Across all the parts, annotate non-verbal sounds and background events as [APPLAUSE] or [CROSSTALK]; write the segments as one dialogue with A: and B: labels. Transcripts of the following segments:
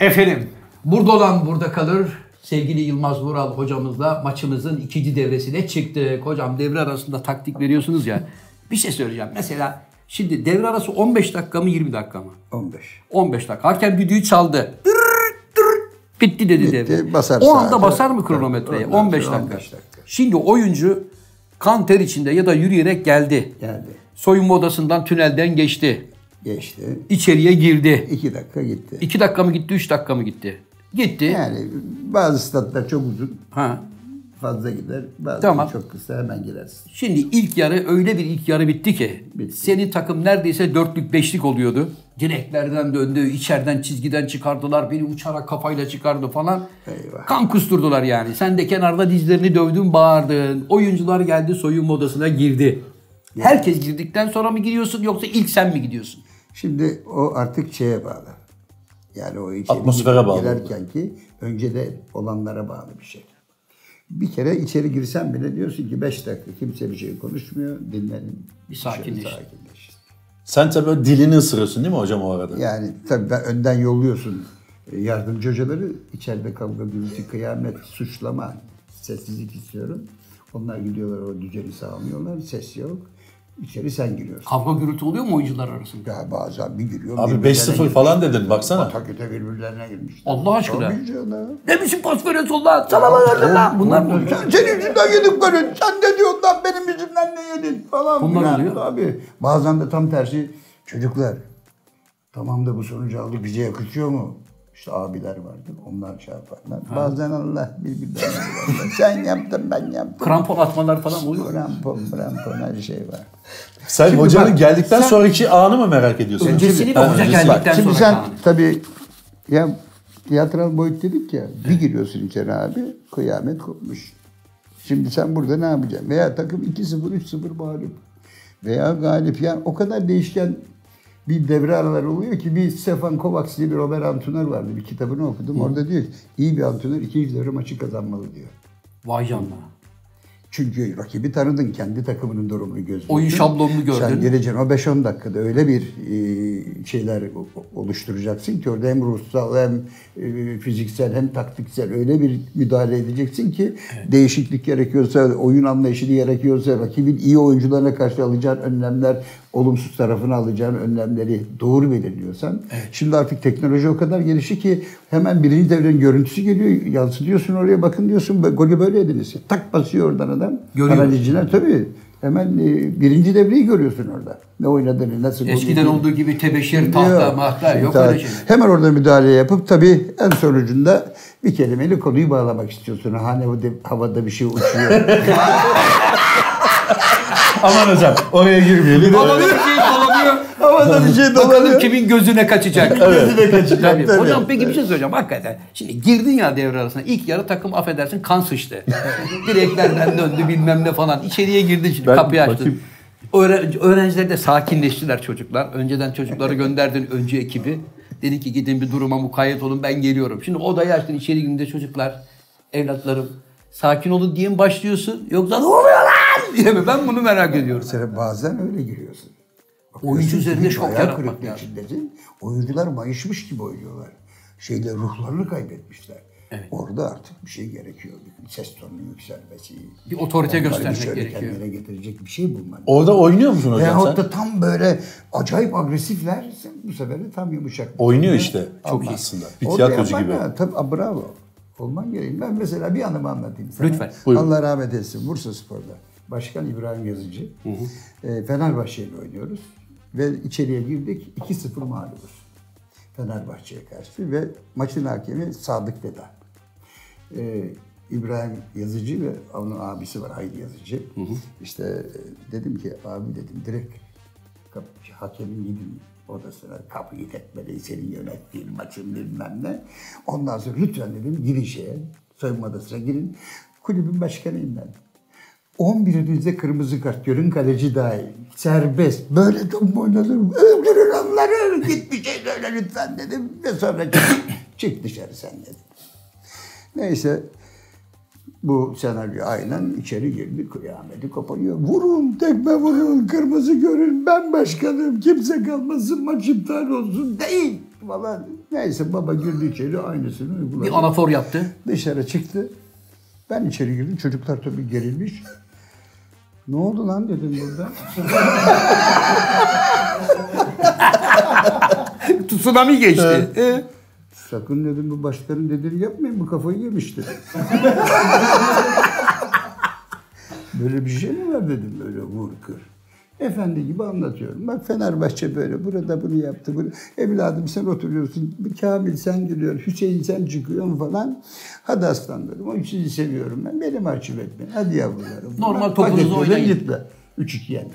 A: Efendim, burada olan burada kalır. Sevgili Yılmaz Vural hocamızla maçımızın ikinci devresine çıktık. Hocam devre arasında taktik veriyorsunuz ya. Bir şey söyleyeceğim. Mesela şimdi devre arası 15 dakika mı 20 dakika mı?
B: 15.
A: 15 dakika. Hakem düdüğü çaldı. Dırr, dırr, Bitti dedi devre.
B: basar
A: o anda
B: saate.
A: basar mı kronometreyi?
B: Ondan sonra
A: 15 dakika.
B: 15 dakika.
A: Şimdi oyuncu kan ter içinde ya da yürüyerek geldi.
B: Geldi.
A: Soyunma odasından tünelden geçti.
B: Geçti.
A: İçeriye girdi.
B: 2 dakika gitti.
A: 2 dakika mı gitti, 3 dakika mı gitti? Gitti.
B: Yani bazı statlar çok uzun
A: Ha.
B: fazla gider. Bazı
A: Tamam.
B: çok kısa hemen girersin.
A: Şimdi ilk yarı öyle bir ilk yarı bitti ki
B: Bitti.
A: senin takım neredeyse dörtlük beşlik oluyordu. Direklerden döndü, içeriden çizgiden çıkardılar, beni uçarak kafayla çıkardı falan.
B: Eyvah.
A: Kan kusturdular yani. Sen de kenarda dizlerini dövdün, bağırdın. Oyuncular geldi, soyunma odasına girdi. Herkes girdikten sonra mı giriyorsun yoksa ilk sen mi gidiyorsun?
B: Şimdi o artık şeye bağlı. Yani o içeri
C: Atmosfere bağlı.
B: Girerken ki önce de olanlara bağlı bir şey. Bir kere içeri girsen bile diyorsun ki 5 dakika kimse bir şey konuşmuyor. şey Dinlenin.
A: Bir sakinleşin.
B: Şöyle sakinleşin.
C: Sen tabii böyle dilini ısırıyorsun değil mi hocam o arada?
B: Yani tabii ben önden yolluyorsun e, yardımcı hocaları. içeride kavga, gürültü, kıyamet, suçlama, sessizlik istiyorum. Onlar gidiyorlar o düzeni sağlamıyorlar, ses yok. İçeri sen giriyorsun.
A: Kavga gürültü oluyor mu oyuncular arasında?
B: Ya bazen bir giriyor.
C: Abi
B: birbirlerine
C: 5-0
B: girmiş.
C: falan dedin baksana.
B: Taküte birbirlerine girmiş.
A: Allah aşkına.
B: Tabii canım.
A: Ne biçim pas veriyorsun lan? Sana mı verdin lan? Bunlar mı?
B: Sen- Senin yüzünden yedik golü. Sen ne diyorsun lan benim yüzümden ne yedin falan.
A: Bunlar
B: filan.
A: oluyor.
B: Tabii. Bazen de tam tersi. Çocuklar tamam da bu sonucu aldık bize yakışıyor mu? İşte abiler vardır. Onlar şey yaparlar. Bazen Allah birbirlerine [LAUGHS] yaparlar. Sen yaptın ben yaptım.
A: Krampon atmalar falan oluyor mu?
B: Krampon, krampon her şey var.
C: Sen
B: Şimdi
C: hocanın
B: bak,
C: geldikten
B: sen-
C: sonraki anı mı merak ediyorsun?
A: Öncesini
C: Ha,
A: mi hoca
C: öncesi-
A: geldikten-
C: Bak,
B: Şimdi
A: sonra
B: sen
A: Kaan.
B: tabii ya tiyatral boyut dedik ya bir giriyorsun içeri abi kıyamet kopmuş. Şimdi sen burada ne yapacaksın? Veya takım 2-0 3-0 mağlup. Veya galip yani o kadar değişken bir devre araları oluyor ki bir Stefan Kovacs diye bir Robert antrenör vardı. Bir kitabını okudum. Orada diyor ki iyi bir antrenör ikinci devre maçı kazanmalı diyor.
A: Vay canına.
B: Çünkü rakibi tanıdın, kendi takımının durumunu gözlemledin.
A: Oyun şablonunu gördün.
B: Sen geleceksin o 5-10 dakikada öyle bir e, şeyler o- o- oluşturacaksın ki orada hem ruhsal hem e, fiziksel hem taktiksel öyle bir müdahale edeceksin ki değişiklik gerekiyorsa, oyun anlayışı gerekiyorsa, rakibin iyi oyuncularına karşı alacağın önlemler, olumsuz tarafını alacağın önlemleri doğru belirliyorsan. Şimdi artık teknoloji o kadar gelişti ki hemen birinci devrenin görüntüsü geliyor, yansıtıyorsun oraya bakın diyorsun golü böyle ediniz. Tak basıyor oradan adam.
A: Görüyor.
B: Analizciler tabii. Hemen e, birinci devreyi görüyorsun orada. Ne oynadığını, nasıl gol
A: Eskiden
B: yediğini.
A: olduğu gibi tebeşir,
B: Yok.
A: tahta, mahta yok
B: Tahta.
A: öyle şey.
B: Hemen orada müdahale yapıp tabii en sonucunda bir kelimeyle konuyu bağlamak istiyorsun. Hani o de- havada bir
A: [LAUGHS]
B: şey uçuyor.
C: Aman hocam oraya girmeyelim.
A: Bakalım kim dolanıyor.
B: havada bir şey
A: Bakalım
B: dolanıyor.
A: kimin gözüne kaçacak.
B: Gözüne kaçacak,
A: Tabii.
B: tabii.
A: Hocam peki bir şey söyleyeceğim hakikaten. Şimdi girdin ya devre arasına. İlk yarı takım affedersin kan
B: [LAUGHS]
A: sıçtı. Direklerden döndü bilmem ne falan. İçeriye girdin şimdi
C: Ben
A: kapıyı açtın.
C: bakayım.
A: Öğren- öğrenciler de sakinleştiler çocuklar. Önceden çocukları gönderdin önce ekibi. Dedi ki gidin bir duruma mukayyet olun ben geliyorum. Şimdi odayı açtın içeri girdiğinde çocuklar, evlatlarım sakin olun diye mi başlıyorsun? Yoksa ne oluyor lan [LAUGHS] diye mi? Ben bunu merak ediyorum.
B: Mesela bazen öyle giriyorsun.
A: Oyuncu üzerinde
B: Çünkü
A: şok
B: hayal
A: yaratmak
B: kırıklığı
A: lazım.
B: içindesin. Oyuncular mayışmış gibi oynuyorlar. Şeyde ruhlarını kaybetmişler. Orada artık bir şey gerekiyor. Bir ses tonunun yükselmesi.
A: Bir otorite
B: Onları bir
A: göstermek
B: şöyle
A: gerekiyor.
B: Kendine getirecek bir şey bulman
C: Orada oynuyor musun hocam
B: Veyahut
C: sen?
B: da tam böyle acayip agresifler bu sefer de tam yumuşak.
C: Oynuyor işte. Çok
B: Olmaz.
C: aslında. Bir
B: Orada
C: tiyatrocu
B: yapan
C: gibi.
B: ha, Tabii, aa, bravo. Olman gerekiyor. Ben mesela bir anımı anlatayım sana.
A: Lütfen,
C: buyurun.
B: Allah rahmet etsin. Bursa Spor'da. Başkan İbrahim Yazıcı. E, Fenerbahçe ile oynuyoruz. Ve içeriye girdik. 2-0 mağlubuz. Fenerbahçe'ye karşı. Ve maçın hakemi Sadık Veda. Ee, İbrahim Yazıcı ve onun abisi var Haydi Yazıcı. İşte e, dedim ki abi dedim direkt kap, hakemin gidin odasına kapıyı etmeli senin yönettiğin maçın bilmem ne. Ondan sonra lütfen dedim girin şeye soyunma odasına girin. Kulübün başkanıyım ben. 11'inize kırmızı kart görün kaleci dahil. Serbest. Böyle top oynanır. mı? Öldürün onları. Git bir şey söyle lütfen dedim. Ve sonra çık, çık dışarı sen dedim. Neyse bu senaryo aynen içeri girdi. Kıyameti koparıyor. Vurun tekme vurun kırmızı görün ben başkanım kimse kalmasın maç iptal olsun değil falan. Neyse baba girdi içeri aynısını uyguladı.
A: Bir anafor
B: [LAUGHS]
A: yaptı.
B: Dışarı çıktı. Ben içeri girdim. Çocuklar tabii gerilmiş. Ne oldu lan dedim burada.
A: Tsunami geçti.
B: Ee?
A: E?
B: Sakın dedim bu başkanın dediğini yapmayın bu kafayı yemişti. böyle bir şey mi var dedim böyle vur kır. Efendi gibi anlatıyorum. Bak Fenerbahçe böyle burada bunu yaptı. Bunu. Evladım sen oturuyorsun. Bir Kamil sen gülüyorsun. Hüseyin sen çıkıyorsun falan. Hadi aslanlarım. O sizi seviyorum ben. Beni mahcup etmeyin. Hadi yavrularım.
A: Normal
B: Bak,
A: topunuzu
B: paketledin,
A: oynayın.
B: Gitme.
A: [LAUGHS]
B: 3-2 yendi.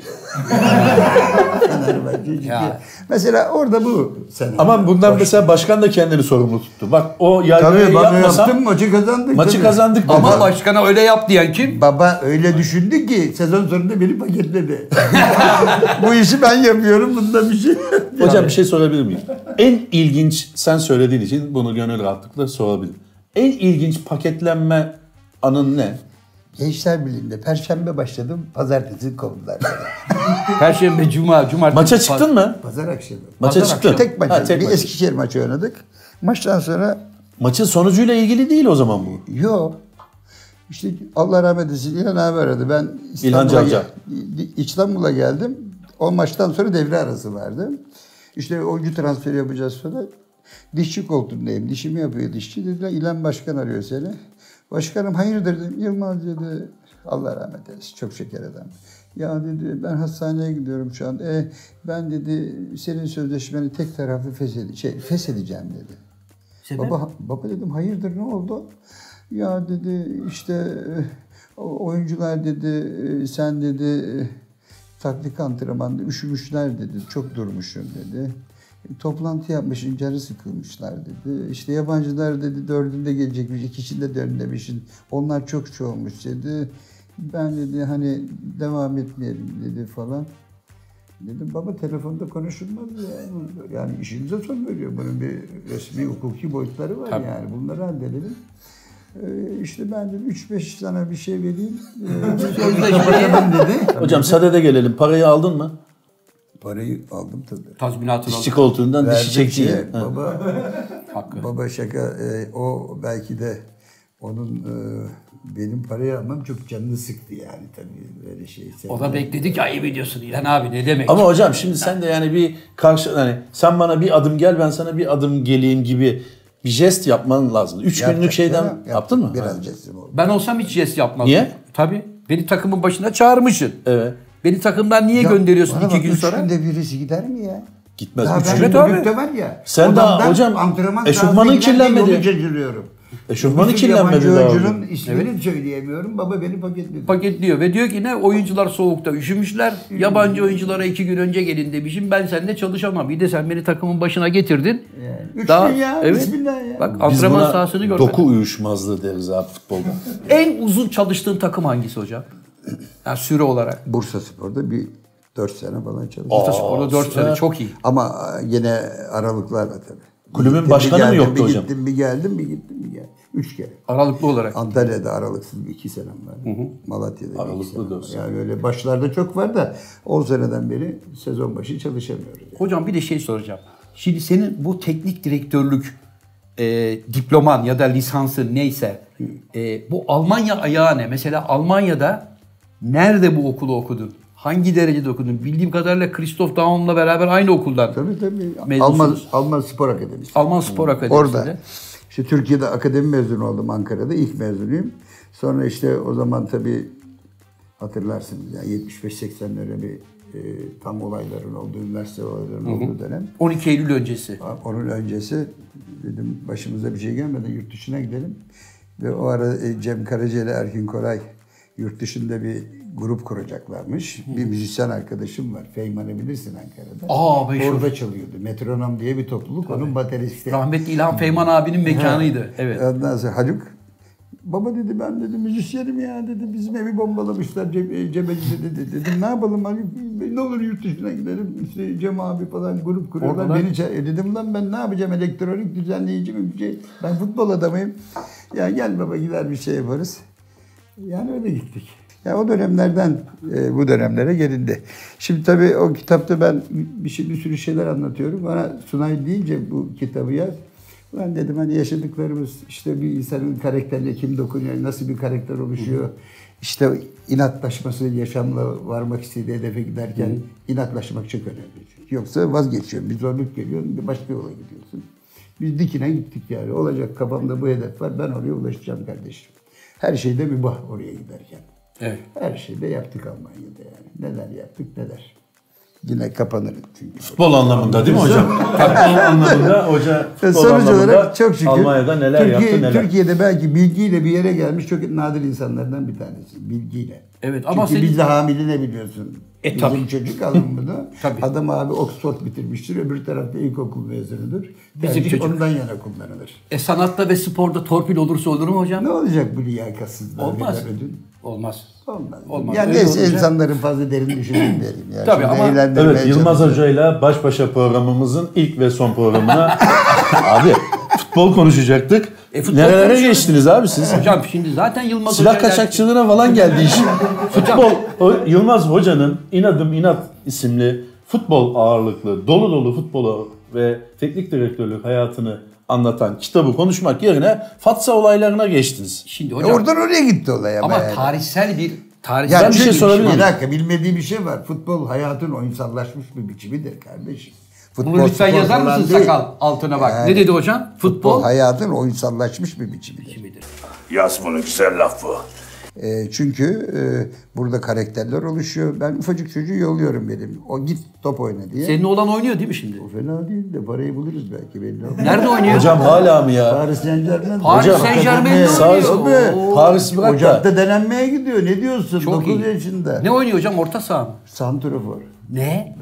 B: Fenerbahçe 3-2.
A: Ya.
B: Mesela orada bu. Sen
C: Ama bundan mesela başkan da kendini sorumlu tuttu. Bak o yargıyı
B: Tabii baba
C: yapmasam
B: yaptım maçı kazandık.
C: maçı
B: tabii.
C: kazandık.
A: Ama
C: dedi.
A: başkana öyle yap diyen kim?
B: Baba öyle düşündü ki sezon sonunda beni paketledi. [LAUGHS] Bu işi ben yapıyorum bunda bir şey. yok.
C: Hocam bir şey sorabilir miyim? En ilginç, sen söylediğin için bunu gönül rahatlıkla sorabilirim. En ilginç paketlenme anın ne?
B: Gençler Birliği'nde perşembe başladım, pazartesi kovdular. beni. şey
A: Perşembe, cuma, cumartesi.
C: Maça çıktın mı?
B: Pazar akşamı.
C: Maça
B: Pazar
C: çıktın.
B: akşamı. Tek maç.
C: Ha, tek
B: bir
C: maç.
B: Eskişehir maçı oynadık. Maçtan sonra
C: Maçın sonucuyla ilgili değil o zaman bu.
B: yok. İşte Allah rahmet eylesin İlhan abi aradı. Ben
C: İlhan
B: İstanbul'a,
C: Cavcav.
B: gel- İstanbul'a geldim. O maçtan sonra devre arası vardı. İşte oyuncu transferi yapacağız falan. Dişçi koltuğundayım. Dişimi yapıyor dişçi. Dediler İlhan Başkan arıyor seni. Başkanım hayırdır dedim. Yılmaz dedi. Allah rahmet eylesin. Çok şeker adam. Ya dedi ben hastaneye gidiyorum şu an. E, ben dedi senin sözleşmeni tek taraflı feshede- şey, feshedeceğim dedi.
A: Şey
B: Baba, baba dedim hayırdır ne oldu? Ya dedi işte e, o- oyuncular dedi e, sen dedi e, taktik antrenmanda üşümüşler dedi. Çok durmuşum dedi. E, Toplantı yapmışın canı sıkılmışlar dedi. İşte yabancılar dedi dördünde gelecekmiş, ikisinde dördündemişsin. Onlar çok çoğulmuş dedi. Ben dedi hani devam etmeyelim dedi falan. Dedim baba telefonda konuşulmaz ya. Yani işinize son veriyor. Bunun bir resmi hukuki boyutları var yani. Bunları halledelim. Ee, işte ben dedim 3-5 tane bir şey vereyim. Ee, [LAUGHS] kapatalım dedi.
C: Hocam sadede gelelim. Parayı aldın mı?
B: Parayı aldım tabii.
A: Tazminatını
C: Dişçi koltuğundan dişi
B: Verdik
C: çekti.
B: şeye, Baba,
A: Hakkı.
B: baba şaka e, o belki de onun e, benim parayı almam çok canını sıktı yani tabii böyle şey.
A: O da bekledi ki ayıp ediyorsun İlhan abi ne demek?
C: Ama hocam şimdi sen de yani bir karşı hani sen bana bir adım gel ben sana bir adım geleyim gibi bir jest yapman lazım. Üç günlük şeyden yaptın mı?
B: Biraz cesim oldu.
A: Ben olsam hiç jest yapmazdım.
C: Niye?
A: Tabii. Beni takımın başına çağırmışsın.
C: Evet.
A: Beni takımdan niye
B: Ya,
A: gönderiyorsun
B: bana
A: iki
B: bak,
A: gün
B: üç
A: sonra?
B: günde birisi gider mi ya?
C: Gitmez.
B: Daha
C: Üç
B: ben
C: gün.
A: Evet
B: evet
A: abi.
B: var ya.
C: Sen daha
B: odamdan
C: hocam,
B: antrenman
C: eşofmanın
B: sahasına giderken
C: kirlenmedi.
B: Yolu şaşırıyorum.
C: Eşofmanın
B: Bir sürü
C: kirlenmedi
B: yabancı
C: daha
B: oyuncunun
C: hocam.
B: ismini söyleyemiyorum. Baba beni paketledi.
A: Paketliyor ve diyor ki ne oyuncular soğukta üşümüşler.
B: Hmm.
A: Yabancı oyunculara iki gün önce gelin demişim. Ben seninle çalışamam. Bir de sen beni takımın başına getirdin.
B: Üç gün ya, bismillah ya.
A: Bak
C: Biz
A: antrenman
C: buna
A: sahasını görmedim.
C: doku uyuşmazlığı deriz abi futbolda.
A: En uzun çalıştığın takım hangisi hocam? Yani süre olarak.
B: Bursa Spor'da bir 4 sene falan çalıştım.
A: Orada 4
C: süre.
A: sene çok iyi.
B: Ama e, yine aralıklarla tabii.
C: Kulübün
B: Gittim, bir
C: başkanı mı
B: geldim,
C: yoktu
B: bir
C: hocam?
B: Gittim, bir geldim, bir gittim, bir geldim. Üç kere.
A: Aralıklı olarak.
B: Antalya'da aralıksız bir iki senem var. Malatya'da bir
C: Aralıklı
B: iki senem
C: da
B: var.
C: olsun.
B: Yani öyle başlarda çok var da 10 seneden beri sezon başı çalışamıyoruz. yani.
A: Hocam bir de şey soracağım. Şimdi senin bu teknik direktörlük e, diploman ya da lisansı neyse e, bu Almanya ayağı ne? Mesela Almanya'da nerede bu okulu okudun? Hangi derecede okudun? Bildiğim kadarıyla Christoph Daum'la beraber aynı okuldan.
B: Tabii tabii.
A: Mezunsunuz.
B: Alman, Alman Spor Akademisi.
A: Alman Spor Akademisi'nde.
B: Orada. İşte Türkiye'de akademi mezunu oldum Ankara'da. ilk mezunuyum. Sonra işte o zaman tabii hatırlarsınız ya 75-80'lere bir e, tam olayların olduğu, üniversite olaylarının olduğu dönem.
A: 12 Eylül öncesi.
B: Onun öncesi dedim başımıza bir şey gelmeden yurt dışına gidelim. Ve o ara e, Cem Karaca ile Erkin Koray yurt dışında bir grup kuracaklarmış. Bir müzisyen arkadaşım var. Feyman'ı bilirsin Ankara'da.
A: Aa, meşhur.
B: Orada çalıyordu. Metronom diye bir topluluk. Onun bateristi.
A: Rahmetli İlhan Feyman abinin mekanıydı. Evet.
B: Ondan sonra Haluk Baba dedi ben dedi müzisyenim ya dedi bizim evi bombalamışlar Cem, Cemeci dedi, dedi. Dedim ne yapalım Haluk E, ne olur yurt dışına gidelim işte Cem abi falan grup kuruyorlar.
A: Orada-
B: Beni ça- e dedim lan ben ne yapacağım elektronik düzenleyici mi bir şey ben futbol adamıyım. Ya gel baba gider bir şey yaparız. Yani öyle gittik. Ya o dönemlerden e, bu dönemlere gelindi. Şimdi tabii o kitapta ben bir, şey, bir sürü şeyler anlatıyorum. Bana Sunay deyince bu kitabı yaz. Ben dedim hani yaşadıklarımız işte bir insanın karakterine kim dokunuyor, nasıl bir karakter oluşuyor. İşte inatlaşması, yaşamla varmak istediği hedefe giderken inatlaşmak çok önemli. Çünkü Yoksa vazgeçiyorsun, bir zorluk geliyor, bir başka yola gidiyorsun. Biz dikine gittik yani. Olacak kafamda bu hedef var, ben oraya ulaşacağım kardeşim. Her şeyde bir bah oraya giderken.
A: Evet.
B: Her şeyi de yaptık Almanya'da yani. Neler yaptık neler. Yine kapanırız çünkü.
C: Futbol anlamında değil mi hocam? futbol anlamında hoca
B: Ve
C: futbol
B: Sonuç
C: anlamında
B: olarak çok şükür
C: Almanya'da neler
B: Türkiye,
C: yaptı neler.
B: Türkiye'de belki bilgiyle bir yere gelmiş çok nadir insanlardan bir tanesi. Bilgiyle.
A: Evet,
B: Çünkü
A: ama senin-
B: biz de hamile ne biliyorsun?
A: E,
B: Bizim
A: tabii.
B: çocuk alın bunu.
A: [LAUGHS] Tabii.
B: Adam abi Oxford bitirmiştir. Öbür tarafta ilkokul mezunudur.
A: Bizim
B: Tercih
A: çocuk.
B: ondan yana kullanılır.
A: E sanatta ve sporda torpil olursa olur mu hocam?
B: Ne olacak bu liyakatsızlığa?
A: Olmaz.
B: verilen ödül?
A: Olmaz.
B: Olmaz.
A: Olmaz.
B: Yani
A: Öyle
B: neyse
A: olunca-
B: insanların fazla derin düşünün derim. Yani.
A: Tabii ama-
C: Evet Yılmaz Hoca'yla baş başa programımızın ilk ve
B: [LAUGHS]
C: son programına abi futbol konuşacaktık.
A: E, futbol
C: Nerelere
A: konuşuyoruz.
C: geçtiniz abi siz?
A: Hocam şimdi zaten Yılmaz
C: Silah
A: Hoca'yla-
C: kaçakçılığına falan geldi iş. futbol o- Yılmaz Hoca'nın İnadım İnat isimli futbol ağırlıklı dolu dolu futbolu ve teknik direktörlük hayatını anlatan kitabı konuşmak yerine Fatsa olaylarına geçtiniz.
A: Şimdi
B: E
A: hocam
B: oradan oraya gitti olay ama,
A: ama
B: yani.
A: tarihsel bir tarihsel
B: Ya
C: Ben bir şey
B: çünkü-
C: sorabilir miyim?
B: Bir dakika bilmediği bir şey var. Futbol hayatın oyunsallaşmış bir biçimidir kardeşim. Futbol,
A: Bunu lütfen
B: spor
A: yazar
B: falan
A: mısın
B: değil.
A: sakal altına bak.
B: Yani
A: ne dedi hocam? Futbol.
B: Futbol hayatın oyunsallaşmış bir biçimidir.
A: midir?
D: Yaz bunu güzel laf bu.
B: E, çünkü e, burada karakterler oluşuyor. Ben ufacık çocuğu yolluyorum benim. O git top oyna diye.
A: Senin oğlan oynuyor değil mi şimdi?
B: O fena değil de parayı buluruz belki belli olmaz.
A: Nerede oynuyor?
C: Hocam hala mı ya?
B: Paris Saint Germain.
A: Paris Saint-Germain'de oynuyor. Oo.
C: Paris bırak da-
B: Ocak'ta denenmeye gidiyor. Ne diyorsun?
A: Çok
B: 9
A: iyi.
B: yaşında.
A: Ne oynuyor hocam? Orta saha mı?
B: Santrafor.
A: Ne?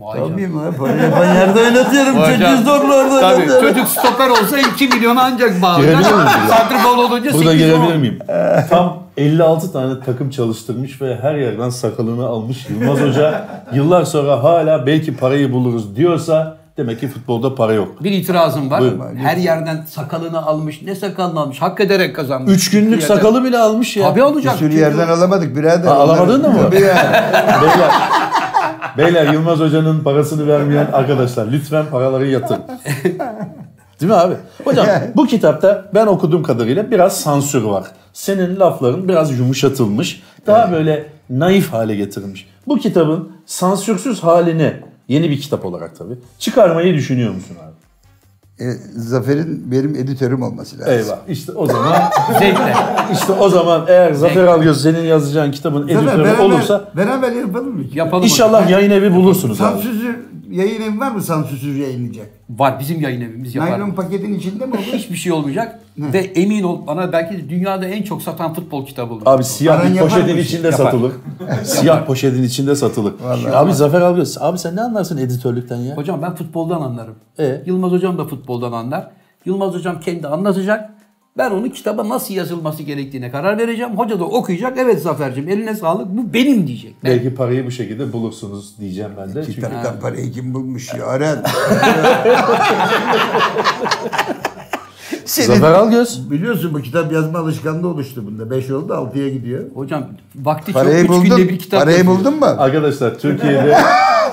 A: Vay
B: Tabii mi? Parayı yapan yerde oynatıyorum. Çocuğu zorla orada
A: Tabii.
B: oynatıyorum.
A: Çocuk stoper olsa 2 milyona ancak bağlı.
C: Girebilir miyim buraya?
A: Santrifon olunca 8
C: Burada gelebilir miyim? Tam 56 tane takım çalıştırmış ve her yerden sakalını almış Yılmaz Hoca yıllar sonra hala belki parayı buluruz diyorsa demek ki futbolda para yok.
A: Bir itirazım var.
C: Buyurun.
A: Her yerden sakalını almış. Ne sakalını almış? Hak ederek kazanmış.
C: 3 günlük
A: Bir yerden-
C: sakalı bile almış ya.
A: Tabii
B: Bir
A: olacak.
B: sürü
A: Çünkü-
B: yerden alamadık birader.
C: Ha,
B: Onları-
C: alamadın da mı?
B: Tabii ya.
C: Beyler, beyler Yılmaz Hoca'nın parasını vermeyen arkadaşlar lütfen paraları yatırın. Değil mi abi? Hocam bu kitapta ben okuduğum kadarıyla biraz sansür var. Senin lafların biraz yumuşatılmış. Daha böyle naif hale getirilmiş. Bu kitabın sansürsüz halini yeni bir kitap olarak tabii çıkarmayı düşünüyor musun abi?
B: E, Zafer'in benim editörüm olması lazım.
C: Eyvah. İşte o zaman
A: Zevkle.
C: işte o zaman eğer Zafer Algöz senin yazacağın kitabın
B: Zafer,
C: editörü
B: beraber,
C: olursa
B: beraber yapalım mı?
A: Yapalım.
C: inşallah yayın evi bulursunuz abi.
B: Sansüzü yayın evi var mı sansüzü yayınlayacak?
A: Var bizim yayın evimiz yapar.
B: Naylon paketin içinde mi [LAUGHS] olur?
A: Hiçbir şey olmayacak. Ve emin ol bana belki de dünyada en çok satan futbol kitabı olur.
C: Abi siyah
B: Paran
C: bir
B: yapar
C: poşetin
B: mı?
C: içinde
A: Yapar.
C: satılır. siyah poşetin içinde satılır. abi Zafer Algöz, abi sen ne anlarsın editörlükten ya?
A: Hocam ben futboldan anlarım.
C: E?
A: Yılmaz hocam da futboldan anlar. Yılmaz hocam kendi anlatacak. Ben onu kitaba nasıl yazılması gerektiğine karar vereceğim. Hoca da okuyacak. Evet Zafer'cim eline sağlık. Bu benim diyecek. Ben-
C: Belki parayı bu şekilde bulursunuz diyeceğim ben de. Çünkü
B: Kitaptan parayı [LAUGHS] kim bulmuş yaren? Senin,
C: Zafer Algöz.
B: biliyorsun bu kitap yazma alışkanlığı oluştu bunda. 5 oldu 6'ya gidiyor.
A: Hocam vakti
B: Parayı
A: çok. Üç günde
B: buldun.
A: bir kitap
B: Parayı
A: yazıyor.
B: buldun mu?
C: Arkadaşlar Türkiye'de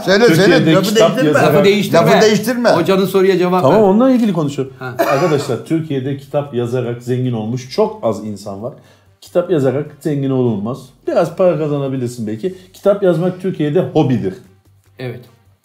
B: Söyle
C: Türkiye'de
B: söyle. Lafı
C: kitap
B: değiştirme.
C: yazarı-
A: Lafı değiştirme.
B: Lafı değiştirme.
A: Hocanın soruya cevap
C: [LAUGHS] tamam
A: ver.
C: onunla ilgili konuşuyorum. Arkadaşlar Türkiye'de kitap yazarak zengin olmuş çok az insan var. Kitap yazarak zengin olunmaz. Biraz para kazanabilirsin belki. Kitap yazmak Türkiye'de hobidir.
A: Evet.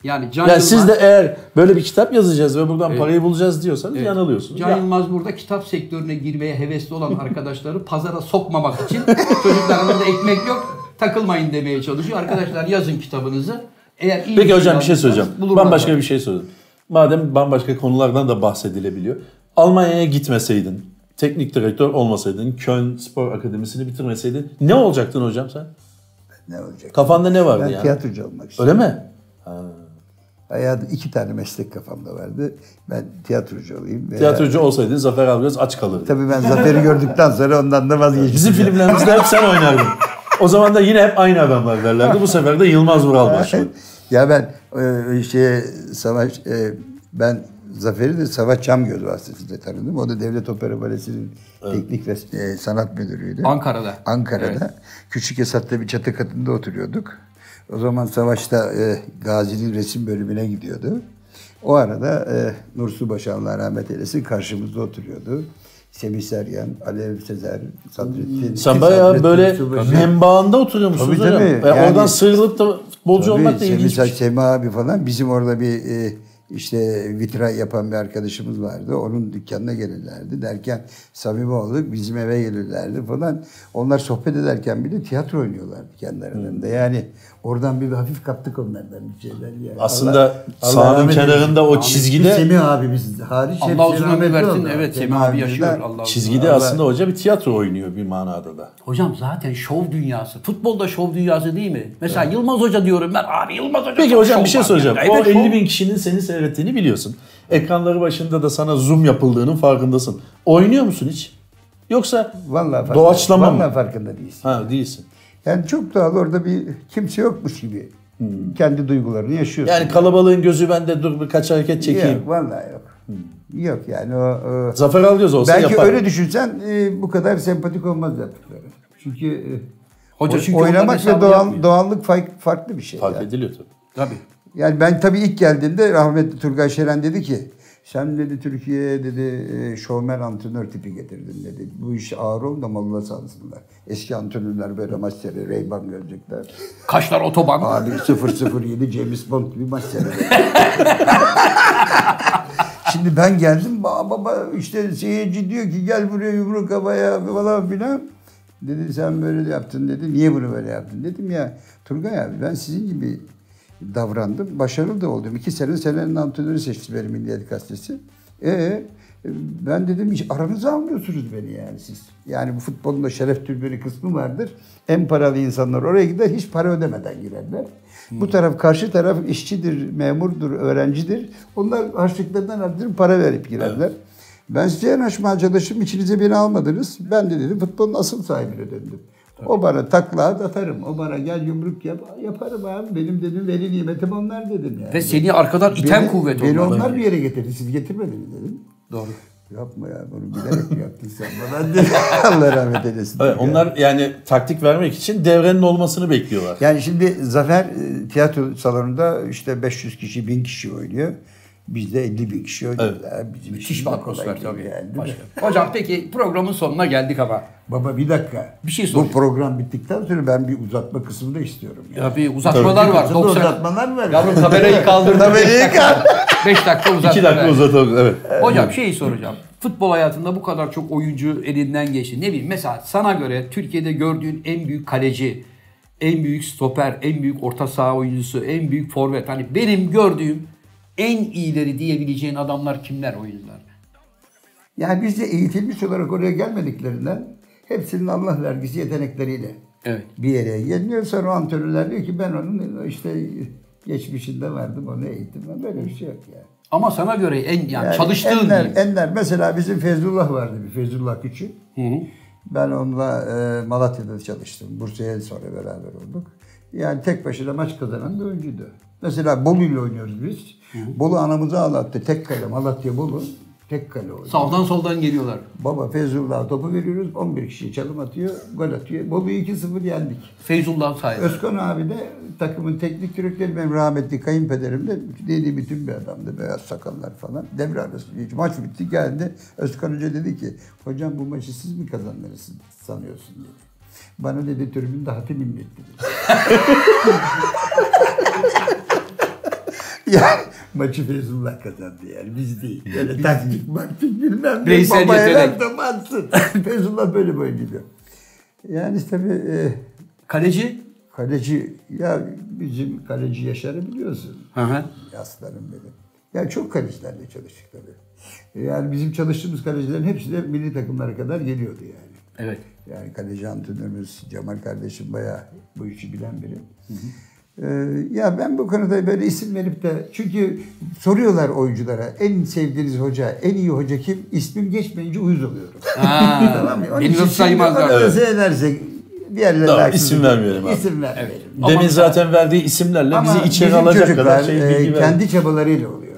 A: Yani Can
C: Yani
A: Yılmaz,
C: siz de eğer böyle bir kitap yazacağız ve buradan parayı bulacağız diyorsanız yanılıyorsunuz.
A: Can
C: Ya-
A: Yılmaz burada kitap sektörüne girmeye hevesli olan arkadaşları pazara sokmamak için çocuklarımızda ekmek yok takılmayın demeye çalışıyor. Arkadaşlar yazın kitabınızı. Eğer iyi
C: Peki hocam bir şey söyleyeceğim.
A: bulurlar
C: Bambaşka
A: zaten.
C: bir şey soracağım. Madem bambaşka konulardan da bahsedilebiliyor. Almanya'ya gitmeseydin, teknik direktör olmasaydın, Köln Spor Akademisi'ni bitirmeseydin ne olacaktın hocam sen?
B: Ne olacak?
C: Kafanda ne vardı
B: Ben
C: yani?
B: tiyatrocu olmak istiyorum.
C: Öyle mi?
B: Hayatım iki tane meslek kafamda vardı. Ben tiyatrocu olayım. Veya-
C: Tiyatrocu olsaydın Zafer Algöz aç kalırdı.
B: Ee, Tabii ben Zafer'i gördükten sonra ondan da vazgeçtim.
C: Bizim filmlerimizde hep sen oynardın. O zaman da yine hep aynı adamlar derlerdi. Bu sefer de Yılmaz Vural başladı.
B: ya ben e, şey savaş e, ben Zafer'i de Savaş Çamgöz vasıtasıyla tanıdım. O da Devlet Opera Balesi'nin teknik ve e, sanat müdürüydü.
A: Ankara'da.
B: Ankara'da. Küçük Esat'ta bir çatı katında oturuyorduk. O zaman Savaş'ta e, Gazi'nin resim bölümüne gidiyordu. O arada e, Nursu Başı Allah rahmet eylesin karşımızda oturuyordu. Semih Sergen, Alev Sezer, Sadrettin.
C: Sen bayağı
B: Sadrettin
C: böyle
B: Subaşı.
C: menbaında oturuyor
B: şey
C: musunuz
B: Tabii,
C: hocam?
B: tabii.
C: E,
B: Yani-
C: oradan sıyrılıp da futbolcu
B: Tabii,
C: olmak da ilginç bir
B: Semih
C: şey.
B: Sema abi falan bizim orada bir e, işte vitra yapan bir arkadaşımız vardı. Onun dükkanına gelirlerdi. Derken samimi olduk. Bizim eve gelirlerdi falan. Onlar sohbet ederken bile tiyatro oynuyorlardı kendi aralarında. Yani oradan bir hafif kaptık onlardan bir şeyler. Yani.
C: Aslında
B: Allah- Allah
C: sahanın
B: rahmet
C: kenarında
B: eylesin.
C: o
B: Abi,
C: çizgide-
B: bir Semih abimiz hariç.
A: Allah
B: hepsi
A: uzun ömür
B: rahmetli
A: versin.
B: oldu.
A: Evet, Semih abi
B: abimizden
A: yaşıyor. Allah-
C: Çizgide
B: Allah-
C: aslında hoca bir tiyatro oynuyor bir manada da.
A: Hocam zaten şov dünyası. Futbolda şov dünyası değil mi? Mesela Yılmaz Hoca diyorum ben. Abi Yılmaz Hoca
C: Peki
A: çok
C: hocam
A: şov
C: bir şey
A: var
C: soracağım.
A: yani.
C: O
A: Evet,
C: 50
A: şov.
C: bin kişinin seni seyrettiğini biliyorsun. Ekranları başında da sana zoom yapıldığının farkındasın. Oynuyor musun hiç? Yoksa
B: Vallahi farkında-
C: doğaçlama
B: Vallahi
C: mı?
B: farkında değilsin.
C: Ha değilsin.
B: Yani çok doğal orada bir kimse yokmuş gibi. Kendi duygularını yaşıyorsun.
C: Yani kalabalığın gözü bende dur birkaç hareket çekeyim.
B: Yok, vallahi yok. Yok yani o... o-
C: Zafer Algöz olsa
B: belki
C: yapar.
B: öyle düşünsen e, bu kadar sempatik olmaz yaptıkları. Çünkü, e,
A: Hoca
B: oy-
A: çünkü onların
B: oynamak ve
A: hesabını
B: doğal,
A: yapmıyor.
B: doğallık fay- farklı bir şey.
C: Fark
B: yani.
C: ediliyor tabii.
A: Tabii.
B: yani ben tabii ilk geldiğimde rahmetli Turgay Şeren dedi ki sen dedi Türkiye'ye dedi e, şovmen antrenör tipi getirdin dedi. Bu iş ağır oldu ama Allah sansınlar. Eski antrenörler böyle maçları Reyban gözlükler.
A: Kaşlar otoban.
B: Abi 007 James Bond gibi maç seyrediyor. Şimdi ben geldim baba, baba işte seyirci diyor ki gel buraya yumruk havaya falan filan. Dedi sen böyle yaptın dedi. Niye bunu böyle yaptın? Dedim ya Turgay abi ben sizin gibi davrandım. Başarılı da oldum. İki sene senenin antrenörü seçti beni Milliyet Gazetesi. E ben dedim hiç aranıza almıyorsunuz beni yani siz. Yani bu futbolun da şeref türbeli kısmı vardır. En paralı insanlar oraya gider hiç para ödemeden girerler.
A: Hmm.
B: Bu taraf karşı taraf işçidir, memurdur, öğrencidir. Onlar harçlıklarından artırıp para verip girerler. Ben size yanaşma arkadaşım içinize beni almadınız. Ben de dedim futbolun asıl sahibine döndüm. O bana takla at atarım. O bana gel yumruk yap. Yaparım abi. Benim dedim veli nimetim onlar dedim yani.
A: Ve seni arkadan iten kuvvet
B: Beni
A: onlar.
B: onlar bir yere getirdi. Siz getirmediniz dedim.
A: Doğru.
B: Yapma ya bunu bilerek mi yaptın sen bana? Ben de [LAUGHS] Allah rahmet eylesin.
C: Evet, onlar yani taktik vermek için devrenin olmasını bekliyorlar.
B: Yani şimdi Zafer e, tiyatro salonunda işte 500 kişi, 1000 kişi oynuyor. Bizde 50 bin kişi oynuyor. Bizim
A: Müthiş
B: işimiz
A: bir
B: de
A: atmosfer
B: kolay değil
A: tabii.
B: yani, değil mi?
A: Başka. Hocam peki programın sonuna geldik ama.
B: Baba bir dakika.
A: Bir şey
B: Bu
A: soracağım.
B: program bittikten sonra ben bir uzatma kısmını da istiyorum. Yani.
A: Ya bir uzatmalar var.
B: Kızım da
A: 90.
B: uzatmalar var.
A: Yavrum kamerayı kaldır.
B: Kamerayı kaldır.
A: 5 dakika uzatma.
C: 2 dakika uzatalım. Evet.
A: Hocam şeyi soracağım. Futbol hayatında bu kadar çok oyuncu elinden geçti. Ne bileyim mesela sana göre Türkiye'de gördüğün en büyük kaleci, en büyük stoper, en büyük orta saha oyuncusu, en büyük forvet. Hani benim gördüğüm en iyileri diyebileceğin adamlar kimler oyuncular?
B: Yani biz de eğitilmiş olarak oraya gelmediklerinden hepsinin Allah vergisi yetenekleriyle
A: Evet.
B: bir yere geliniyor. Sonra o antrenörler diyor ki ben onun işte geçmişinde vardım onu eğittim. Ben Böyle bir şey yok yani.
A: Ama sana göre en yani,
B: Yani
A: çalıştığın
B: enler,
A: diyeyim.
B: enler. Mesela bizim Fezlullah vardı bir Fezlullah Küçük. Ben onunla e, Malatya'da çalıştım. Bursa'ya sonra beraber olduk. Yani tek başına maç kazanan bir oyuncuydu. Mesela Bolu ile oynuyoruz biz. Bolu anamızı ağlattı. Tek kale Malatya Bolu. Tek kale oynuyor.
A: Sağdan soldan geliyorlar.
B: Baba Fezlullah'a topu veriyoruz. 11 kişi çalım atıyor. Gol atıyor. Bolu'yu 2-0 yendik.
A: Feyzullah sayesinde.
B: Özkan abi de takımın teknik direktörü benim rahmetli kayınpederim de dediği bütün bir adamdı beyaz sakallar falan. Devre arası hiç maç bitti geldi. Özkan Hoca dedi ki hocam bu maçı siz mi kazandınız sanıyorsun dedi. Bana dedi tribünde hatim inletti dedi. yani maçı Feyzullah kazandı yani biz değil. Öyle taktik maktik bilmem ne.
A: Bireysel
B: Baba
A: yetenek.
B: herhalde varsın. Feyzullah böyle böyle gidiyor. Yani tabii e,
A: Kaleci?
B: Kaleci, ya bizim kaleci Yaşar'ı biliyorsun.
A: Hı hı.
B: Aslanım benim. Ya çok kalecilerle çalıştık tabii. Yani bizim çalıştığımız kalecilerin hepsi de milli takımlara kadar geliyordu yani. [LAUGHS]
A: Evet.
B: Yani kaleci antrenörümüz Cemal kardeşim bayağı bu işi bilen biri. Ee, ya ben bu konuda böyle isim verip de çünkü soruyorlar oyunculara en sevdiğiniz hoca, en iyi hoca kim? İsmim geçmeyince uyuz oluyorum.
A: Ha,
B: Tamam şey mı? Onun
A: beni
B: için
A: nasıl saymazlar?
B: şimdi
C: Evet.
B: Analize edersek diğerlerine
C: Tamam,
B: haksızlık-
C: isim vermeyelim abi.
B: İsim vermeyelim.
C: Demin zaten verdiği isimlerle bizi içeri
B: bizim
C: alacak
B: çocuklar,
C: kadar şey
B: e,
C: bilgi verdi.
B: kendi çabalarıyla oluyor.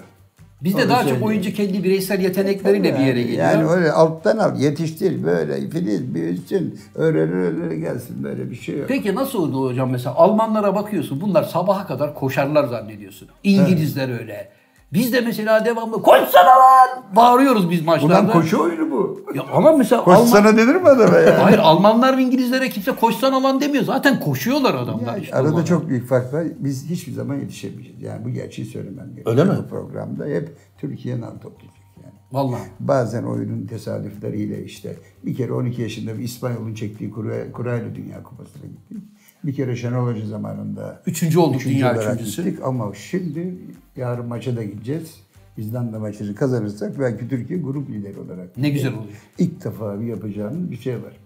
A: Bizde
B: Onu
A: daha çok
B: söyleyeyim.
A: oyuncu kendi bireysel yetenekleriyle bir yere geliyor.
B: Yani öyle alttan al yetiştir böyle filiz büyüsün öğrenir öğrenir gelsin böyle bir şey yok.
A: Peki nasıl oldu hocam mesela Almanlara bakıyorsun bunlar sabaha kadar koşarlar zannediyorsun. İngilizler öyle. Biz de mesela devamlı koşsana lan bağırıyoruz biz maçlarda.
B: Ulan koşu oyunu bu. [LAUGHS]
A: Ya ama mesela Alman...
B: Koşsana denir mi
A: [LAUGHS]
B: adama ya?
A: Hayır Almanlar ve İngilizlere kimse koşsana lan demiyor. Zaten koşuyorlar adamlar. işte o
B: Arada
A: zaman.
B: çok büyük fark var. Biz hiçbir zaman yetişemeyeceğiz. Yani bu gerçeği söylemem gerekiyor.
C: Öyle mi?
B: Bu programda hep Türkiye nam toplayacak yani.
A: Vallahi.
B: Bazen oyunun tesadüfleriyle işte bir kere 12 yaşında bir İspanyol'un çektiği kura- kurayla Dünya Kupası'na gittik. Bir kere Şenol Hoca zamanında
A: Üçüncü olduk
B: üçüncü
A: dünya
B: olarak
A: üçüncüsü.
B: gittik ama şimdi yarın maça da gideceğiz. İzlanda maçını kazanırsak belki Türkiye grup lideri olarak.
A: Ne güzel oluyor.
B: İlk defa bir yapacağımız bir şey var.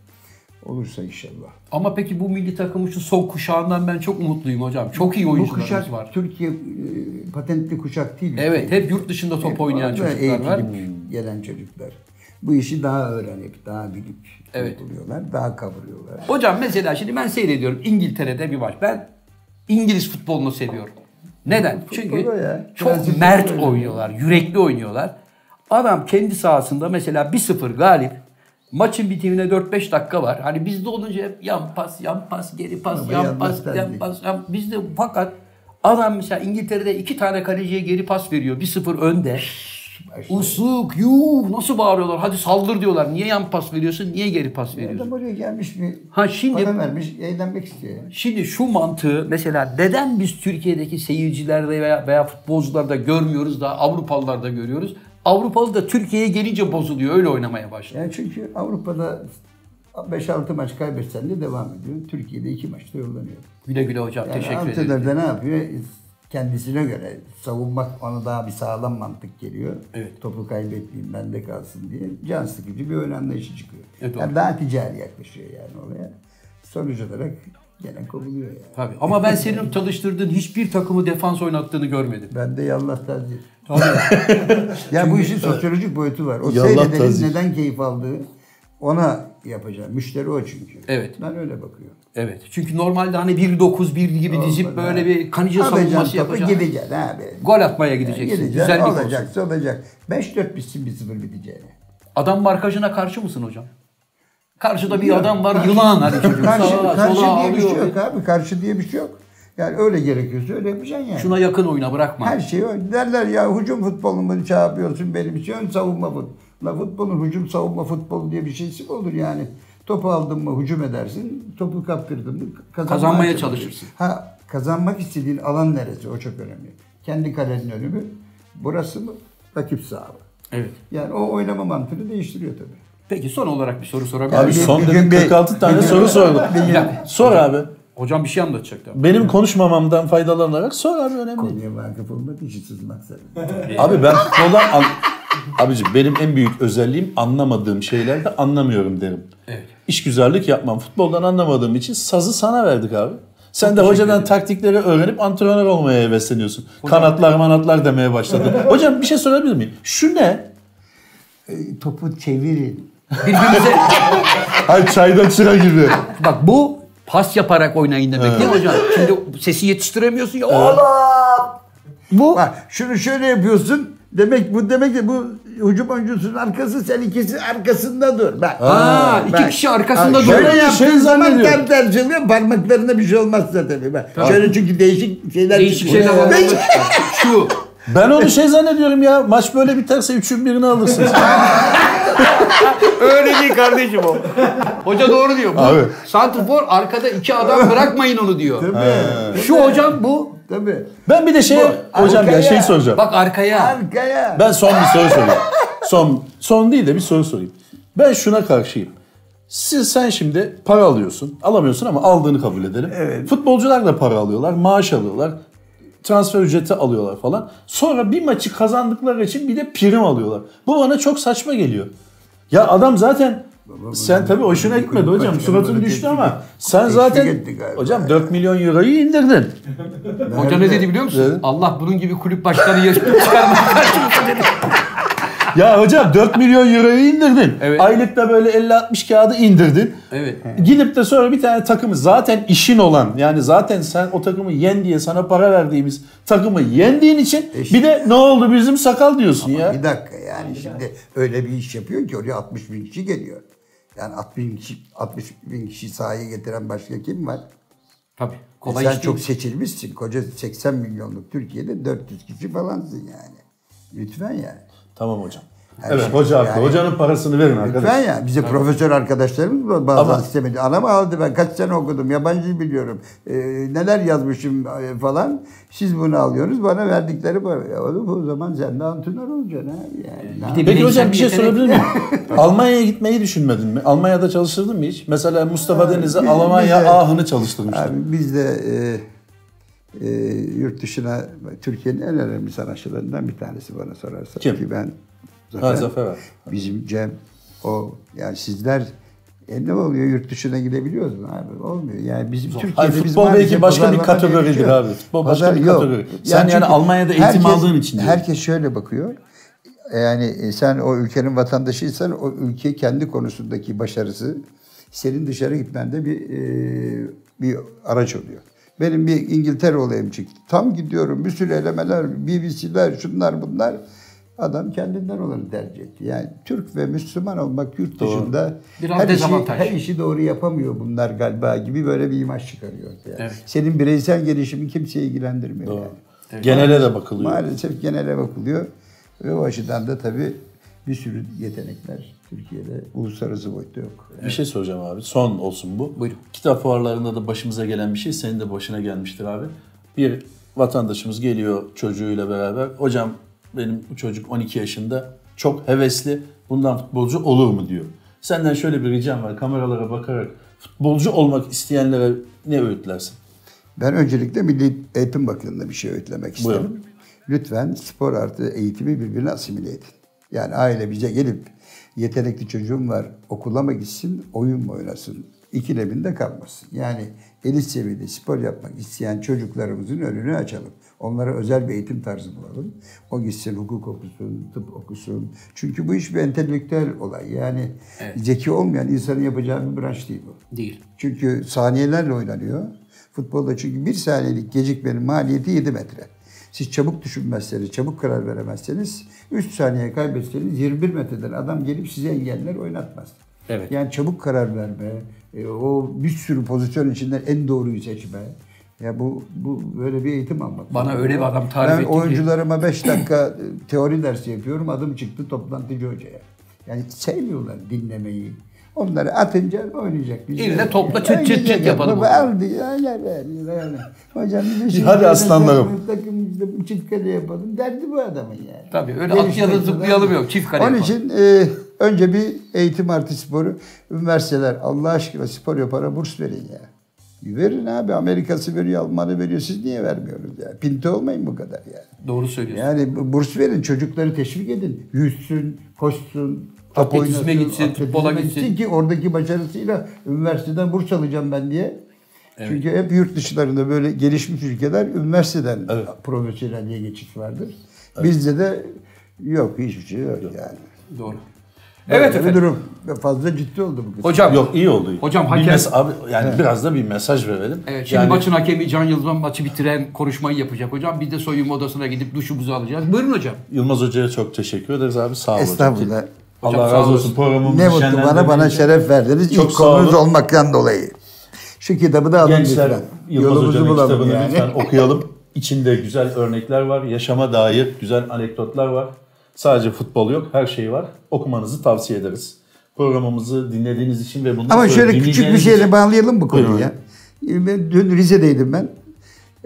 B: Olursa inşallah.
A: Ama peki bu milli takımın şu son kuşağından ben çok umutluyum hocam. Çok iyi
B: Bu
A: oyuncularımız
B: kuşak
A: var.
B: Türkiye e, patentli kuşak değil.
A: Evet hep yurt dışında top oynayan
B: Orada
A: çocuklar var.
B: eğitilip gelen çocuklar. Bu işi daha öğrenip, daha bilip
A: Evet.
B: uyguluyorlar, daha kavuruyorlar.
A: Hocam mesela şimdi ben seyrediyorum İngiltere'de bir maç. Ben İngiliz futbolunu seviyorum. Neden? Çünkü
B: Futbolu ya.
A: çok
B: Prensipleri
A: mert
B: öyle.
A: oynuyorlar, yürekli oynuyorlar. Adam kendi sahasında mesela 1-0 galip. Maçın bitimine 4-5 dakika var. Hani bizde olunca hep yan pas, yan pas, geri pas,
B: Ama
A: yan
B: yanlış
A: pas, yan
B: tercih.
A: pas, yan Bizde fakat adam mesela İngiltere'de iki tane kaleciye geri pas veriyor. 1-0 önde. Usuk, yuh nasıl bağırıyorlar. Hadi saldır diyorlar. Niye yan pas veriyorsun, niye geri pas veriyorsun?
B: Adam oraya gelmiş mi?
A: Ha şimdi-
B: Para vermiş, eğlenmek istiyor. ya.
A: Şimdi şu mantığı mesela neden biz Türkiye'deki seyircilerde veya, veya futbolcularda görmüyoruz da Avrupalılarda görüyoruz? Avrupalı da Türkiye'ye gelince bozuluyor öyle oynamaya başlıyor.
B: Yani çünkü Avrupa'da 5-6 maç kaybetsen de devam ediyor. Türkiye'de 2 maçta yollanıyor.
A: Güle güle hocam
B: Yani
A: teşekkür ederim.
B: antrenör de ne yapıyor? Kendisine göre savunmak ona daha bir sağlam mantık geliyor.
A: Evet.
B: Topu kaybetmeyeyim bende kalsın diye. Can sıkıcı bir ön anlayışı çıkıyor.
A: E, doğru.
B: yani daha ticari yaklaşıyor yani olaya. Sonuç olarak gene kovuluyor yani.
A: Tabii. Ama ben senin çalıştırdığın hiçbir takımı defans oynattığını görmedim.
B: Ben de yallah tazir. [LAUGHS] ya bu işin sosyolojik boyutu var. O
C: Yallah
B: seyredenin
C: tazir.
B: neden keyif aldığı ona yapacağım. Müşteri o çünkü.
A: Evet.
B: Ben öyle bakıyorum.
A: Evet. Çünkü normalde hani 1-9-1 gibi dizip
B: Olmadı.
A: böyle bir kanıcı
B: Alacaksın
A: savunması
B: topu,
A: yapacaksın.
B: Gideceksin abi.
A: Gol atmaya gideceksin.
B: Gideceksin,
A: Güzel bir gol.
B: olacaksa olacak. 5-4 bitsin 1-0 biteceğine.
A: Adam markajına karşı mısın hocam? Karşıda bir adam var yılan hani çocuk.
B: Karşı,
A: Sağa,
B: karşı
A: sola
B: diye bir şey
A: alıyor.
B: yok abi. Karşı diye bir şey yok. Yani öyle gerekiyorsa öyle yapacaksın yani.
A: Şuna yakın oyna bırakma.
B: Her şey öyle. Derler ya hücum futbolu mu şey yapıyorsun benim için ön savunma futbolu. La futbolun hücum savunma futbolu diye bir şeysi mi olur yani? Topu aldın mı hücum edersin, topu kaptırdın mı kazanmaya,
A: Kazanmaya
B: çalışırsın.
A: çalışırsın.
B: Ha kazanmak istediğin alan neresi o çok önemli. Kendi kalenin önü mü? Burası mı? Rakip saha mı?
A: Evet.
B: Yani o oynama mantığını değiştiriyor tabii.
A: Peki son olarak bir soru sorabilir
C: Abi
A: miyim?
C: son
B: bir
C: dedim
B: gün bir-
C: 46 tane soru sordum. Sor abi.
A: Hocam bir şey anlatacaktı. ama.
C: Benim konuşmamamdan faydalanarak sor abi önemli değil.
B: Konuya vakıf olmak için şey sızmak zorunda.
C: [LAUGHS] Abi ben futboldan... an- Abicim benim en büyük özelliğim anlamadığım şeylerde anlamıyorum derim.
A: Evet.
C: İşgüzarlık yapmam. Futboldan anlamadığım için sazı sana verdik abi. Sen de hocadan taktikleri öğrenip antrenör olmaya hevesleniyorsun. Kanatlar manatlar demeye başladın. Hocam bir şey sorabilir miyim? Şu ne?
B: E, Topu çevirin.
A: Birbirimize [LAUGHS]
C: Ay çaydan çıra gibi.
A: bak bu pas yaparak oynayın demek değil mi hocam? Şimdi sesi yetiştiremiyorsun ya. Allah! Bu
B: Bak şunu şöyle yapıyorsun. Demek bu demek ki bu hücum oyuncusunun arkası sen ikisi arkasında dur. Bak.
A: Ha, iki kişi arkasında
B: dur. Şöyle
C: duruyor.
B: yaptığın
C: Şey
B: zaman
C: zannediyorum.
B: tam tersi oluyor. Parmaklarında bir şey olmaz zaten. Bak. Şöyle çünkü değişik şeyler
A: değişik
B: çıkıyor.
A: şeyler var.
B: Değişik-
A: [LAUGHS] Şu.
C: Ben onu şey zannediyorum ya. Maç böyle biterse üçün birini alırsınız.
A: Öyle değil kardeşim o. Hoca doğru diyor. Bu
C: Abi.
A: santrfor arkada iki adam bırakmayın onu diyor. Şu hocam bu.
B: Tabii.
C: Ben bir de şey... Hocam ya
B: arkaya.
C: şey soracağım.
A: Bak arkaya.
B: Arkaya.
C: Ben son bir soru sorayım. Son son değil de bir soru sorayım. Ben şuna karşıyım. Siz sen şimdi para alıyorsun. Alamıyorsun ama aldığını kabul edelim. Futbolcular da para alıyorlar, maaş alıyorlar. Transfer ücreti alıyorlar falan. Sonra bir maçı kazandıkları için bir de prim alıyorlar. Bu bana çok saçma geliyor. Ya adam zaten sen tabii hoşuna gitmedi
B: kulüp
C: hocam.
B: başkanı
C: Suratın
B: böyle
C: düştü
B: teşvik
C: ama
B: etti.
C: sen
B: Teşvik
C: zaten
B: etti galiba.
C: hocam 4 milyon euroyu indirdin.
A: Hoca ne dedi biliyor musun?
C: Evet. [LAUGHS]
A: Allah bunun gibi kulüp başkanı yaşını çıkarmak karşımıza dedi.
C: ya hocam 4 milyon euroyu indirdin.
A: Evet.
C: Aylık da böyle 50-60 kağıdı indirdin.
A: Evet.
C: Gidip de sonra bir tane takımı zaten işin olan yani zaten sen o takımı yen diye sana para verdiğimiz takımı yendiğin için bir de ne oldu bizim sakal diyorsun ya.
B: Bir dakika yani şimdi öyle bir iş yapıyor ki oraya 60 bin kişi geliyor. Yani 60 bin kişi, 60 bin kişi sahaya getiren başka kim var?
A: Tabii.
B: E
A: Kolay
B: sen
A: iş
B: çok
A: değil.
B: seçilmişsin. Koca 80 milyonluk Türkiye'de 400 kişi falansın yani. Lütfen yani.
C: Tamam hocam.
B: Her
C: Evet
B: şey-
C: hoca haklı.
B: yani-
C: Hocanın parasını verin arkadaşlar.
B: Lütfen ya. Bize profesör arkadaşlarımız var, bazen
C: Ama-
B: istemedi. Anam aldı ben kaç sene okudum. Yabancı biliyorum. Ee, neler yazmışım e, falan. Siz bunu alıyorsunuz. Bana verdikleri para. Ya oğlum, o zaman sen de antrenör olacaksın abi. Yani, Ne
A: de
C: Peki
A: Bireysel
C: hocam bir şey
A: yetenek-
C: sorabilir miyim? [LAUGHS] Almanya'ya gitmeyi düşünmedin mi? Almanya'da çalıştırdın mı hiç? Mesela Mustafa Deniz'e
B: biz-
C: Almanya
B: biz de-
C: ahını çalıştırmışlar.
B: Abi biz de e, e, yurt dışına Türkiye'nin en önemli sanatçılarından bir tanesi bana sorarsa
C: Kim?
B: ki ben Zafer.
C: Ha Zafer abi.
B: Bizim Cem o yani sizler e ne oluyor yurt dışına gidebiliyoruz mu abi? Olmuyor. Yani bizim Türkiye'de
C: Hayır,
B: biz
C: futbol
B: maalesef
C: belki başka bir
B: pazarlama
C: kategoridir
B: gelişiyor.
C: abi. Futbol başka bir kategori. Sen yani
B: çünkü
C: Almanya'da eğitim aldığın için diyorum.
B: Herkes şöyle bakıyor. Yani e, sen o ülkenin vatandaşıysan o ülke kendi konusundaki başarısı senin dışarı gitmende bir e, bir araç oluyor. Benim bir İngiltere olayım çıktı. Tam gidiyorum bir sürü elemeler, BBC'ler, şunlar bunlar. Adam kendinden olanı tercih etti. Yani Türk ve Müslüman olmak yurt dışında
A: Biraz
B: her, işi,
A: dezavantaj.
B: her işi doğru yapamıyor bunlar galiba gibi böyle bir imaj çıkarıyor. ortaya.
A: Evet.
B: Senin bireysel gelişimin kimseyi ilgilendirmiyor. Yani.
C: Genele de bakılıyor.
B: Maalesef genele bakılıyor. Ve o açıdan da tabii bir sürü yetenekler Türkiye'de uluslararası boyutta yok.
C: Bir şey soracağım abi. Son olsun bu.
A: Buyurun.
C: Kitap fuarlarında da başımıza gelen bir şey senin de başına gelmiştir abi. Bir vatandaşımız geliyor çocuğuyla beraber. Hocam benim bu çocuk 12 yaşında çok hevesli. Bundan futbolcu olur mu diyor. Senden şöyle bir ricam var. Kameralara bakarak futbolcu olmak isteyenlere ne öğütlersin?
B: Ben öncelikle Milli Eğitim Bakanlığı'na bir şey öğütlemek isterim.
C: Buyurun.
B: Lütfen spor artı eğitimi birbirine asimile edin. Yani aile bize gelip yetenekli çocuğum var okula mı gitsin, oyun mu oynasın? İkileminde kalmasın. Yani elit seviyede spor yapmak isteyen çocuklarımızın önünü açalım. Onlara özel bir eğitim tarzı bulalım. O gitsin hukuk okusun, tıp okusun. Çünkü bu iş bir entelektüel olay. Yani zeki olmayan insanın yapacağı bir branş değil bu.
A: Değil.
B: Çünkü saniyelerle oynanıyor. Futbolda çünkü bir saniyelik gecikmenin maliyeti 7 metre. Siz çabuk düşünmezseniz, çabuk karar veremezseniz 3 saniye kaybetseniz 21 metreden adam gelip size engeller oynatmaz.
A: Evet.
B: Yani çabuk karar verme, e, o bir sürü pozisyon içinden en doğruyu seçme. Ya bu bu böyle bir eğitim almak.
A: Bana öyle bir adam tarif
B: Ben
A: etti ki-
B: oyuncularıma 5 dakika e, teori dersi yapıyorum. Adım çıktı toplantıcı hocaya. Yani sevmiyorlar dinlemeyi. Onları atınca oynayacak. bir şey
A: İlle
B: yok.
A: topla çıt çıt çıt
B: Oynayacak.
A: yapalım.
B: Baba aldı ya. öyle verdi, öyle. Hocam bir şey
C: Hadi aslanlarım.
B: Takım işte bu çift kale yapalım. Derdi bu adamın yani.
A: Tabii, öyle atlayalım,
B: Gelişmek falan.
A: zıplayalım yok, çift kale
B: Onun
A: yapalım.
B: için e, önce bir eğitim artı sporu. Üniversiteler Allah aşkına spor yapana burs verin ya. Verin abi Amerika'sı veriyor, Alman'ı veriyor. Siz niye vermiyorsunuz ya? Pinti olmayın bu kadar yani.
A: Doğru söylüyorsun.
B: Yani bu- burs verin, çocukları teşvik edin. Yüzsün, koşsun, top
A: Atletizme
B: oynasın,
A: gitsin,
B: atletizme
A: futbola gitsin.
B: ki oradaki başarısıyla üniversiteden burs alacağım ben diye. Çünkü hep yurt dışlarında böyle gelişmiş ülkeler üniversiteden profesyonelliğe geçiş vardır. Bizde de yok hiçbir şey yok, yani.
A: Doğru. Evet
B: Böyle bir
A: efendim.
B: durum. Fazla ciddi oldu bu kız.
A: Hocam.
C: Yok iyi oldu.
A: Hocam,
C: Bir
A: hakem-
C: mes- abi, yani biraz da bir mesaj verelim.
A: Evet, şimdi
C: Yani-
A: maçın hakemi Can Yılmaz maçı bitiren konuşmayı yapacak hocam. Biz de soyunma odasına gidip duşumuzu alacağız. Buyurun hocam.
C: Yılmaz Hoca'ya çok teşekkür ederiz abi. Sağ olun.
B: Estağfurullah.
A: Hocam,
C: Allah
A: sağ
C: razı
A: olasın.
C: olsun. Programımızı
B: Ne mutlu bana, bana
C: şenlendirdiğiniz için.
B: şeref verdiniz.
C: Çok
B: İlk
C: sağ
B: konumuz
C: olun.
B: olmaktan dolayı. Şu kitabı da alın
C: Gençler
B: lütfen.
C: Yılmaz Hoca'nın kitabını
B: yani. [LAUGHS]
C: lütfen okuyalım. İçinde güzel örnekler var. Yaşama dair güzel anekdotlar var. Sadece futbol yok. Her şey var. Okumanızı tavsiye ederiz. Programımızı dinlediğiniz için ve bundan
B: Ama
C: sonra
B: şöyle küçük bir şey
C: dinleyeceğiniz
B: şeyle
C: için-
B: bağlayalım bu konuyu
C: Buyurun.
B: ya. Ben dün Rize'deydim ben.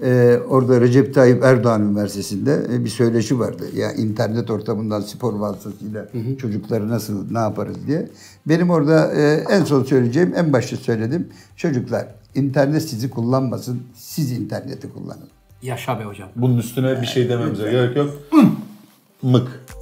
B: Ee, orada Recep Tayyip Erdoğan Üniversitesi'nde e, bir söyleşi vardı. Ya internet ortamından spor vasıtasıyla çocukları nasıl ne yaparız diye. Benim orada e, en son söyleyeceğim, en başta söyledim. Çocuklar internet sizi kullanmasın, siz interneti kullanın.
A: Yaşa be hocam.
C: Bunun üstüne bir şey dememize gerek yok. Mık.